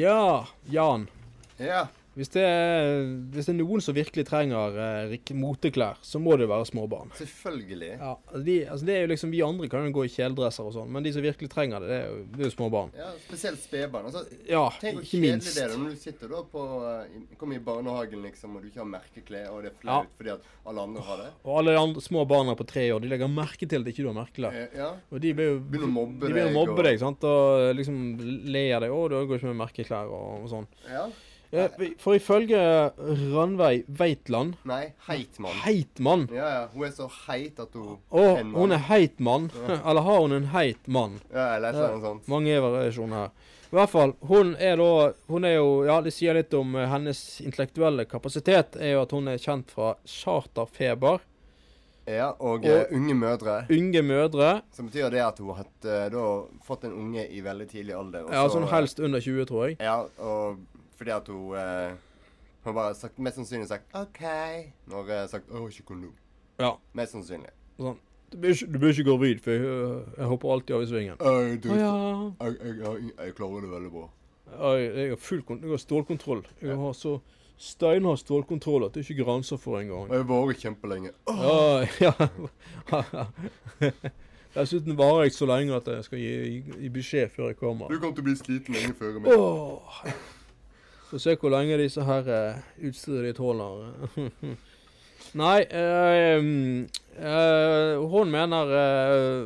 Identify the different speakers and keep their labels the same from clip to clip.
Speaker 1: Ja, Jan.
Speaker 2: Ja.
Speaker 1: Hvis det, er, hvis det er noen som virkelig trenger eh, rik- moteklær, så må det jo være småbarn.
Speaker 2: Selvfølgelig.
Speaker 1: Ja, altså de, altså det er jo liksom Vi andre kan jo gå i kjeledresser og sånn, men de som virkelig trenger det, det er jo, det er jo småbarn.
Speaker 2: Ja, Spesielt spedbarn. Altså,
Speaker 1: Ja,
Speaker 2: tenk hvor
Speaker 1: ikke
Speaker 2: kjedelig
Speaker 1: minst.
Speaker 2: det er da når du sitter da på eh, i- Kommer i barnehagen, liksom, og du ikke har merkeklær, og det er
Speaker 1: Ja.
Speaker 2: flaut fordi at alle andre har det.
Speaker 1: Og alle de andre små barna på tre år de legger merke til at ikke du har merkelær.
Speaker 2: Eh, Ja.
Speaker 1: Og de blir jo
Speaker 2: Begynner å mobbe
Speaker 1: de blir jo
Speaker 2: deg,
Speaker 1: mobbe
Speaker 2: og-
Speaker 1: deg, sant? og liksom le av deg. 'Å, du går ikke med merkeklær', og, og sånn.
Speaker 2: ja.
Speaker 1: Eh, For ifølge Ranveig Veitland
Speaker 2: Nei, heit mann.
Speaker 1: Heitmann.
Speaker 2: Ja, ja. Hun er så heit at hun
Speaker 1: Og
Speaker 2: en mann.
Speaker 1: hun er heit mann. Eller har hun en heit mann?
Speaker 2: Ja, jeg leser
Speaker 1: Ja.
Speaker 2: noe sånt.
Speaker 1: Mange variasjoner her. I hvert fall, hun er da Hun er jo Ja, det sier litt om eh, hennes intellektuelle kapasitet, er jo at hun er kjent fra charterfeber,
Speaker 2: Ja, og, eh, unge mødre.
Speaker 1: unge mødre,
Speaker 2: Som betyr det at hun har hatt, eh, da fått en unge i veldig tidlig alder. og
Speaker 1: ja,
Speaker 2: så- eh,
Speaker 1: sånn helst under 20, tror jeg.
Speaker 2: Ja, og fordi at hun eh, Hun bare sagt, mest sannsynlig sagt OK. Når jeg har sagt Å, ikke kondom.
Speaker 1: Ja.
Speaker 2: Mest sannsynlig.
Speaker 1: Sånn. Du blir ikke, du blir ikke gravid, for jeg, øh, jeg hopper alltid av i svingen.
Speaker 2: «Øy, du,
Speaker 1: Å ja.
Speaker 2: jeg, jeg, jeg, jeg klarer det veldig bra.
Speaker 1: Oi, Jeg har full kon jeg har stålkontroll. Jeg har så steinhard stålkontroll at det er ikke grenser for engang.
Speaker 2: Og jeg varer kjempelenge. Å,
Speaker 1: Ja, ja. Dessuten varer jeg så lenge at jeg skal gi, gi, gi beskjed før jeg kommer.
Speaker 2: Du kommer til å bli sliten lenge før meg.
Speaker 1: Åh. Få se hvor lenge disse her eh, utstyret ditt holder. Nei eh, mm, eh, Hun mener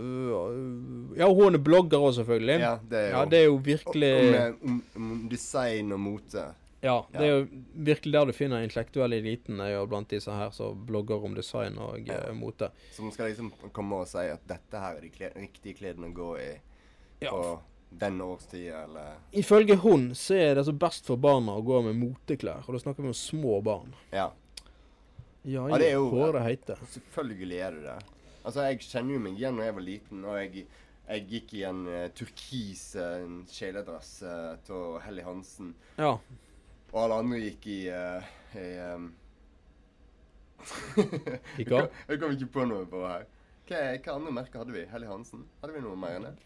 Speaker 1: eh, Ja, hun er blogger òg, selvfølgelig.
Speaker 2: Ja, det er jo
Speaker 1: Ja, det er jo virkelig
Speaker 2: om, om, om design og mote.
Speaker 1: Ja, det er jo virkelig der du finner intellektuelle eliten er jo blant disse her som blogger om design og eh, mote.
Speaker 2: Som skal liksom komme og si at dette her er de kle- riktige klærne å gå i
Speaker 1: Ja,
Speaker 2: på den årstida, eller
Speaker 1: Ifølge hun så er det altså best for barna å gå med moteklær, og da snakker vi om små barn.
Speaker 2: Ja.
Speaker 1: Ja,
Speaker 2: Ja, det er jo-
Speaker 1: Håret heite.
Speaker 2: Selvfølgelig er det det. Altså, jeg kjenner jo meg igjen da jeg var liten, og jeg, jeg gikk i en eh, turkis eh, en kjeledress uh, til Helly Hansen.
Speaker 1: Ja.
Speaker 2: Og alle andre gikk i, eh, i ehm, jeg,
Speaker 1: Gikk av?
Speaker 2: kom, jeg kom ikke på noe på her. Hva, hva andre merker hadde vi? Helly Hansen? Hadde vi noe mer enn det?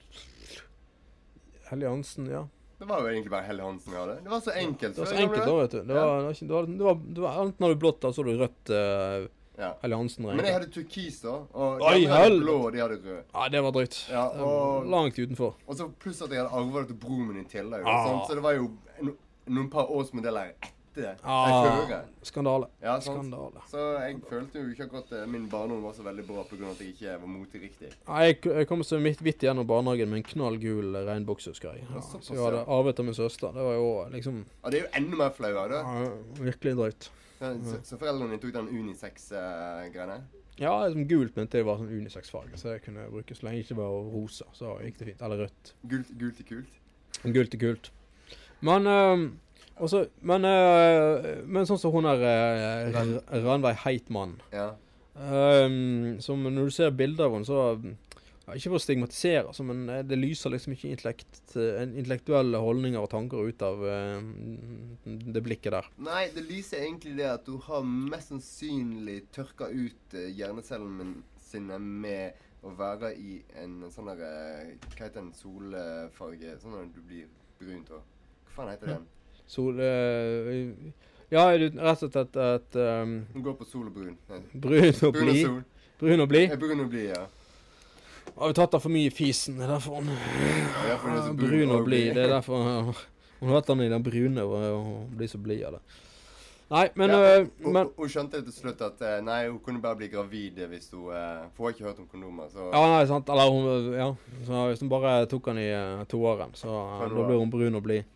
Speaker 1: Hellig Hansen, ja.
Speaker 2: Det var jo egentlig bare Helly Hansen vi hadde. Det var så enkelt.
Speaker 1: Det var
Speaker 2: før
Speaker 1: så
Speaker 2: i gamle
Speaker 1: enkelt da,
Speaker 2: dager.
Speaker 1: vet du. Det var, det var, ikke- det var, det var, det var Enten hadde du blått, eller så hadde du rødt uh,
Speaker 2: Ja.
Speaker 1: Hellig Hansen.
Speaker 2: Men jeg
Speaker 1: regnet.
Speaker 2: hadde turkis, da. Og de
Speaker 1: Oi,
Speaker 2: andre hadde
Speaker 1: helvete.
Speaker 2: blå, og de hadde rød.
Speaker 1: Ja, det var drøyt.
Speaker 2: Ja,
Speaker 1: Det var
Speaker 2: og-
Speaker 1: Langt utenfor.
Speaker 2: Og så pluss at jeg hadde arva det til broren min i tillegg.
Speaker 1: Ah.
Speaker 2: sant? Så det var jo no, noen par årsmodeller etter jeg
Speaker 1: Ah,
Speaker 2: fører.
Speaker 1: skandale.
Speaker 2: Ja, sant?
Speaker 1: Skandale.
Speaker 2: Så jeg følte jo ikke akkurat eh, min barndom var så veldig bra pga. at jeg ikke var moteriktig.
Speaker 1: Ja, jeg, jeg kom så midt vidt gjennom barnehagen med en knallgul eh, regnbukse, husker jeg. Ja,
Speaker 2: såpass,
Speaker 1: så jeg hadde
Speaker 2: ja.
Speaker 1: arvet av min søster. Det var jo liksom
Speaker 2: Og det er jo enda mer flauere, da.
Speaker 1: ja, virkelig drøyt.
Speaker 2: Så,
Speaker 1: Mm.
Speaker 2: så foreldrene mine tok den unisex-greiene.
Speaker 1: Ja, liksom gult mente jeg var sånn unisex-farge, så det kunne jeg bruke så lenge det ikke var rosa. Så gikk det fint. Eller rødt.
Speaker 2: Gult, gult til kult.
Speaker 1: Men Gult er kult. Men ehm, også, men, eh, men sånn som hun der eh, R- Ranveig Heitmann
Speaker 2: Ja.
Speaker 1: ehm, Som når du ser bilder av henne, så ja, Ikke for å stigmatisere, altså, men eh, det lyser liksom ikke intellekt, eh, intellektuelle holdninger og tanker ut av eh, det blikket der.
Speaker 2: Nei, det lyser egentlig det at du har mest sannsynlig tørka ut eh, hjernecellene min- sine med å være i en sånn der eh, Hva heter den solfarge? Sånn at du blir brunt og Hva faen heter den?
Speaker 1: Sol... eh, ja, rett og slett et ehm,
Speaker 2: Hun går på sol og brun. Nei,
Speaker 1: brun og
Speaker 2: Brun og
Speaker 1: blid.
Speaker 2: sol.
Speaker 1: Brun og blid.
Speaker 2: Eh, Brun og blid, ja.
Speaker 1: Har vi tatt av for mye i fisen? Det er derfor hun
Speaker 2: Ja, derfor hun er så
Speaker 1: Ah, brun og blid. Det er
Speaker 2: blid.
Speaker 1: derfor hun- hun har hatt den i den brune og og hun blir så blid av det. Nei, men,
Speaker 2: Ja,
Speaker 1: øh,
Speaker 2: hun,
Speaker 1: men
Speaker 2: hun skjønte til slutt at eh, nei, hun kunne bare bli gravid hvis hun eh, For hun har ikke hørt om kondomer, så
Speaker 1: Ja, nei, sant. Eller hun øh, Ja. Så hvis hun bare tok den i eh, toåren, så eh,
Speaker 2: Kan
Speaker 1: da
Speaker 2: hun
Speaker 1: blir hun brun og blid.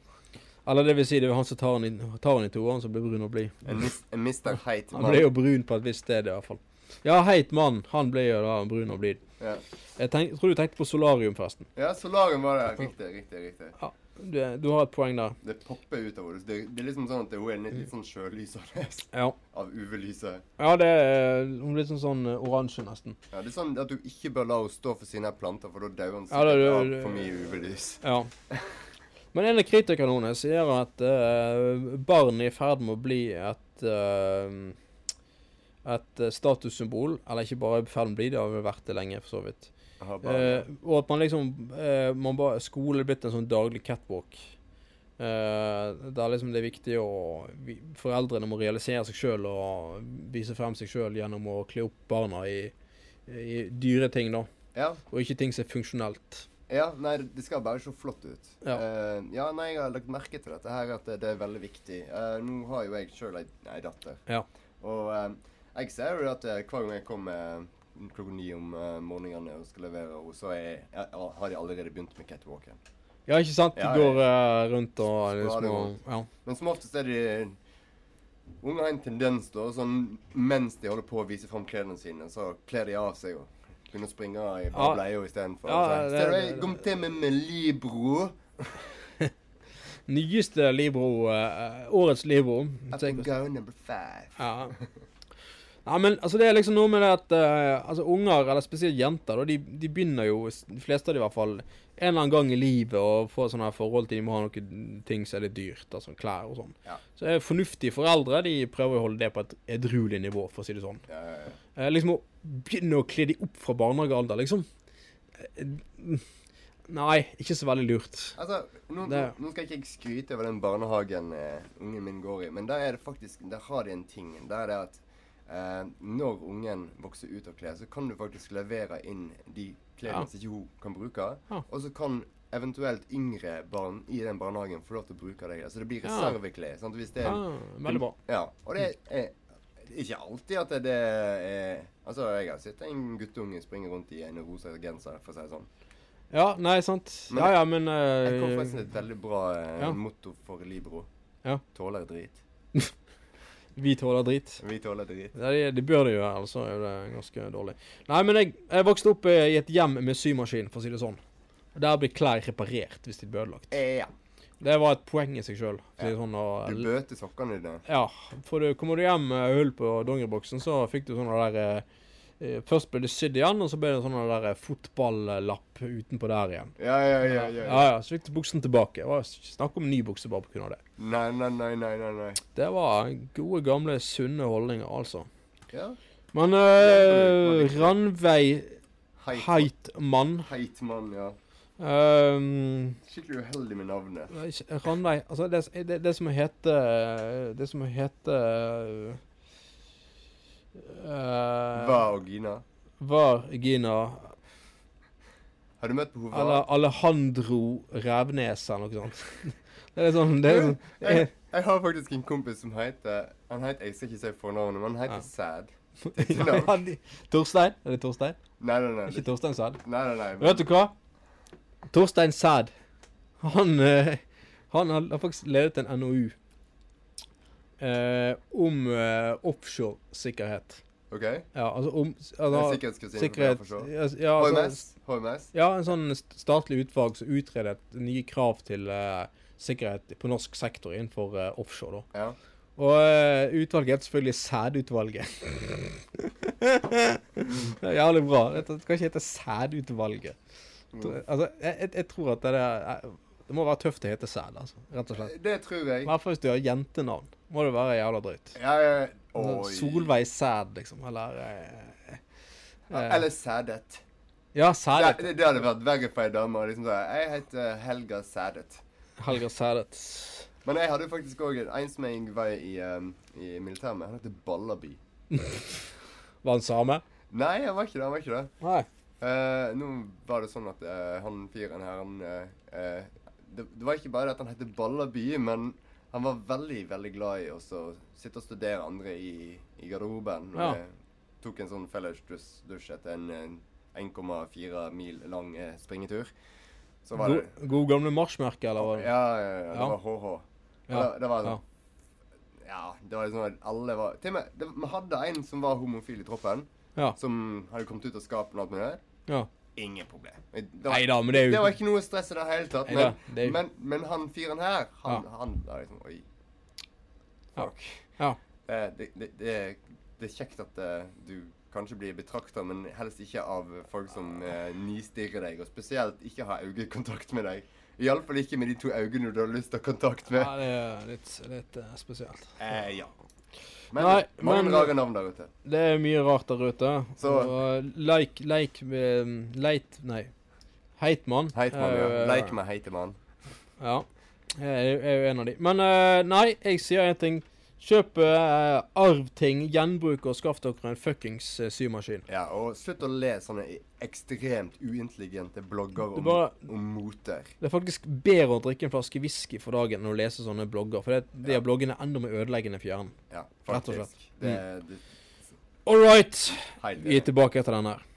Speaker 1: Eller det vil si, det er jo han som tar den i, tar den i toåren, som blir brun og blid.
Speaker 2: En, mis, en mister heit
Speaker 1: Han ble jo brun på et visst sted, i hvert fall. Ja, heit mann. Han ble jo da brun og blid.
Speaker 2: Ja.
Speaker 1: Jeg, tenk, jeg tror du tenkte på solarium, forresten.
Speaker 2: ja, solarium var det. Riktig, riktig. riktig.
Speaker 1: Du, du har et poeng der.
Speaker 2: Det popper ut av henne. Det, det er liksom sånn at hun er litt, litt sånn sjølysende
Speaker 1: Ja.
Speaker 2: av UV-lyset.
Speaker 1: Ja, det er Hun blir sånn sånn eh, oransje, nesten.
Speaker 2: Ja, det er sånn at du ikke bør la henne stå for sine planter, for da dauer hun
Speaker 1: Ja, da-
Speaker 2: sikkert
Speaker 1: da-
Speaker 2: av
Speaker 1: da-
Speaker 2: for mye UV-lys.
Speaker 1: Ja. Men en av kritikerne hennes sier at eh, barn er i ferd med å bli et eh, Et eh, statussymbol. Eller ikke bare i ferd med å bli det, har vel vært det lenge, for så vidt.
Speaker 2: Aha, bare-
Speaker 1: Eh, og at man liksom eh, man bare, Skole er blitt en sånn daglig catwalk. Eh, det er liksom det er viktig å vi- Foreldrene må realisere seg sjøl og vise frem seg sjøl gjennom å kle opp barna i, i dyre ting, da.
Speaker 2: Ja.
Speaker 1: Og ikke ting som er funksjonelt.
Speaker 2: Ja, nei, det skal bare se flott ut.
Speaker 1: Ja.
Speaker 2: Eh, ja, nei, jeg har lagt merke til dette her, at det, det er veldig viktig. Eh, nå har jo jeg sjøl ei ei datter.
Speaker 1: Ja.
Speaker 2: Og eh, jeg ser jo at eh, hver gang jeg kommer eh, klokka ni om eh, morgenene og skal levere henne, så er jeg, jeg, har de allerede begynt med catwalken.
Speaker 1: Ja, ikke sant? De
Speaker 2: Ja, ja.
Speaker 1: går eh, rundt og
Speaker 2: Så har det
Speaker 1: liksom og, ja.
Speaker 2: Men som oftest er de Unger har en tendens, da, sånn mens de holder på å vise fram klærne sine, så kler de av seg og begynner å springe i bare
Speaker 1: Ja.
Speaker 2: bleia istedenfor.
Speaker 1: Ja,
Speaker 2: Ja,
Speaker 1: det-
Speaker 2: ser du,
Speaker 1: det-
Speaker 2: jeg kom til med med Libro.
Speaker 1: Nyeste Libro, eh, årets Libro
Speaker 2: Up and go number five.
Speaker 1: Ja. Nei, men altså, det er liksom noe med det at eh, altså, unger, eller spesielt jenter, da, de, de begynner jo, s- de fleste av de i hvert fall, en eller annen gang i livet å få sånne her forhold til de må ha noen ting som er litt dyrt, altså klær og sånn.
Speaker 2: Ja.
Speaker 1: Så er fornuftige foreldre de prøver å holde det på et edruelig nivå, for å si det sånn.
Speaker 2: Ja, ja, ja.
Speaker 1: Eh, liksom å begynne å kle de opp fra barnehagealder, liksom. Eh, Nei, ikke så veldig lurt.
Speaker 2: Altså, nå, nå
Speaker 1: Det-
Speaker 2: nå skal ikke jeg skryte over den barnehagen eh, ungen min går i, men der er det faktisk, der har de en ting. Der er det at eh, når ungen vokser ut av klær, så kan du faktisk levere inn de klærne
Speaker 1: Ja.
Speaker 2: som ikke hun kan bruke.
Speaker 1: Ja.
Speaker 2: Og så kan eventuelt yngre barn i den barnehagen få lov til å bruke det. Så det blir
Speaker 1: Ja.
Speaker 2: reserveklær. sant? Hvis det
Speaker 1: Ja,
Speaker 2: er
Speaker 1: Ah, veldig bra.
Speaker 2: ja, og det er det er ikke alltid at det er Altså, jeg har sett en guttunge springe rundt i en rosa genser, for å si det sånn.
Speaker 1: Ja, nei, sant.
Speaker 2: Men-
Speaker 1: Ja, ja, men
Speaker 2: Jeg kom
Speaker 1: eh,
Speaker 2: forresten til et veldig bra eh,
Speaker 1: Ja.
Speaker 2: motto for Libro.
Speaker 1: Ja.
Speaker 2: Tåler drit.
Speaker 1: vi tåler drit.
Speaker 2: Vi tåler drit.
Speaker 1: Ja, det, det bør det jo være, ellers er det ganske dårlig. Nei, men jeg, jeg vokste opp eh, i et hjem med symaskin, for å si det sånn. Og Der blir klær reparert hvis de blir ødelagt.
Speaker 2: Eh, ja.
Speaker 1: Det var et poeng i seg sjøl. Si det
Speaker 2: Ja.
Speaker 1: sånn, og-
Speaker 2: Du bøter sokkene dine.
Speaker 1: ja, for du, kommer du hjem med hull på dongeriboksen, så fikk du sånne der eh, eh, Først ble det sydd igjen, og så ble det sånn der eh, fotballapp utenpå der igjen.
Speaker 2: Ja, ja, ja. ja,
Speaker 1: Ja,
Speaker 2: ja.
Speaker 1: ja, Så fikk du buksen tilbake. Det var Snakk om ny bukse bare pga. det.
Speaker 2: Nei, nei, nei, nei, nei. nei.
Speaker 1: Det var gode, gamle, sunne holdninger, altså.
Speaker 2: Ja.
Speaker 1: Men
Speaker 2: det var
Speaker 1: eh,
Speaker 2: viktig.
Speaker 1: Ranveig
Speaker 2: Heit.
Speaker 1: Heitmann
Speaker 2: Heit mann, ja.
Speaker 1: Ehm,
Speaker 2: Skikkelig uheldig med navnet.
Speaker 1: nei, ikke- Ranveig Altså, det, det, det som heter Det som heter eh,
Speaker 2: Hva og Gina?
Speaker 1: Var Gina
Speaker 2: Har du møtt på henne?
Speaker 1: Eller Alejandro Revnes eller noe sånt. Det er sånn det er sånn,
Speaker 2: jeg, jeg har faktisk en kompis som heter Han heter, Jeg skal ikke si fornavnet, men han heter
Speaker 1: Ja.
Speaker 2: Sad.
Speaker 1: ja, ja, de- Torstein? Er det Torstein?
Speaker 2: Nei, nei, nei.
Speaker 1: Ikke
Speaker 2: det-
Speaker 1: Torstein Sæd?
Speaker 2: Nei, nei, nei.
Speaker 1: Vet du hva? Torstein Sæd, han, eh, han har har faktisk ledet en NOU eh, om eh, offshoresikkerhet.
Speaker 2: OK?
Speaker 1: Ja, altså om
Speaker 2: Det er
Speaker 1: altså,
Speaker 2: sikkerhetskusinen.
Speaker 1: sikkerhet
Speaker 2: Sikkerhet.
Speaker 1: ja, s- ja,
Speaker 2: HMS?
Speaker 1: altså,
Speaker 2: HMS?
Speaker 1: ja, en sånn st- statlig utvalg som utredet nye krav til eh, sikkerhet på norsk sektor innenfor eh, offshore. da.
Speaker 2: Ja.
Speaker 1: Og eh, utvalget heter selvfølgelig Sædutvalget. det er jævlig bra. Det det kan ikke hete Sædutvalget.
Speaker 2: Mm.
Speaker 1: Altså, jeg, jeg, jeg tror at det der eh, Det må være tøft å hete sæd, altså. Rett og slett.
Speaker 2: Det tror jeg.
Speaker 1: I hvert fall hvis du har jentenavn. Må det være jævla drøyt.
Speaker 2: Ja, ja.
Speaker 1: Sånn
Speaker 2: Oi.
Speaker 1: Solveig Sæd, liksom. Eller eh, eh,
Speaker 2: Eller Sædet.
Speaker 1: Ja, Sædet.
Speaker 2: Det, det hadde vært verre for ei dame. å Liksom, sånn, jeg heter Helga Sædet.
Speaker 1: Helga Sædet.
Speaker 2: Men jeg hadde faktisk òg en som jeg var i, um, i militæret med. Han heter Ballaby.
Speaker 1: Var han same?
Speaker 2: Nei, han var ikke det. han var ikke det.
Speaker 1: Nei.
Speaker 2: Eh, nå var det sånn at eh, han fyren her, han eh, eh, det, det var ikke bare at han het Ballaby, men han var veldig, veldig glad i også å sitte og studere andre i, i garderoben. Og
Speaker 1: Ja.
Speaker 2: eh, tok en sånn fellesdusj dusj etter en, eh, 1,4 mil lang eh, springetur. Så var
Speaker 1: God,
Speaker 2: det
Speaker 1: god gamle marsjmerke, eller hva?
Speaker 2: Ja, ja, ja, det
Speaker 1: Ja.
Speaker 2: var HH.
Speaker 1: Ja,
Speaker 2: Ja, det var
Speaker 1: ja.
Speaker 2: sånn. Ja, det var sånn at alle var Til og med, det, vi hadde en som var homofil i troppen.
Speaker 1: Ja.
Speaker 2: Som hadde kommet ut av skapene og alt med det.
Speaker 1: ja.
Speaker 2: Ingen problem. Det var,
Speaker 1: Nei da, men det er
Speaker 2: det
Speaker 1: jo
Speaker 2: var ikke noe stress i det hele tatt.
Speaker 1: Neida,
Speaker 2: Men,
Speaker 1: det er jo-
Speaker 2: men, men han fyren her, han,
Speaker 1: Ja.
Speaker 2: han var liksom Oi.
Speaker 1: Ja.
Speaker 2: Fuck.
Speaker 1: Ja.
Speaker 2: Eh, Det, det, det, er- det er kjekt at eh, du kanskje blir betrakta, men helst ikke av folk som eh, nistirrer deg, og spesielt ikke har øyekontakt med deg. Iallfall ikke med de to øynene du har lyst til å ha kontakt med.
Speaker 1: ja, det er litt, litt eh, spesielt.
Speaker 2: Eh, ja. Men
Speaker 1: Nei,
Speaker 2: mange
Speaker 1: men-
Speaker 2: rare navn der ute.
Speaker 1: Det er mye rart der ute.
Speaker 2: Så-
Speaker 1: Og eh, Leik Leik eh, Leit Nei. Heitmann.
Speaker 2: Heitmann, ja.
Speaker 1: eh,
Speaker 2: Leik med Heitemann.
Speaker 1: Ja. Jeg er jo- jeg er jo en av de. Men eh, nei, jeg sier en ting. Kjøp eh, arvting, gjenbruk og skaff dere en fuckings eh, symaskin.
Speaker 2: Ja, og slutt å le sånne ekstremt uintelligente blogger
Speaker 1: Det,
Speaker 2: om,
Speaker 1: bare,
Speaker 2: om moter.
Speaker 1: det er faktisk bedre å drikke en flaske whisky for dagen enn å lese sånne blogger. For det, de
Speaker 2: Ja.
Speaker 1: her bloggene ender med ødeleggende for hjernen.
Speaker 2: Ja,
Speaker 1: Rett og
Speaker 2: faktisk. Det, det,
Speaker 1: All right!
Speaker 2: helt
Speaker 1: Vi er
Speaker 2: enig.
Speaker 1: tilbake til den her.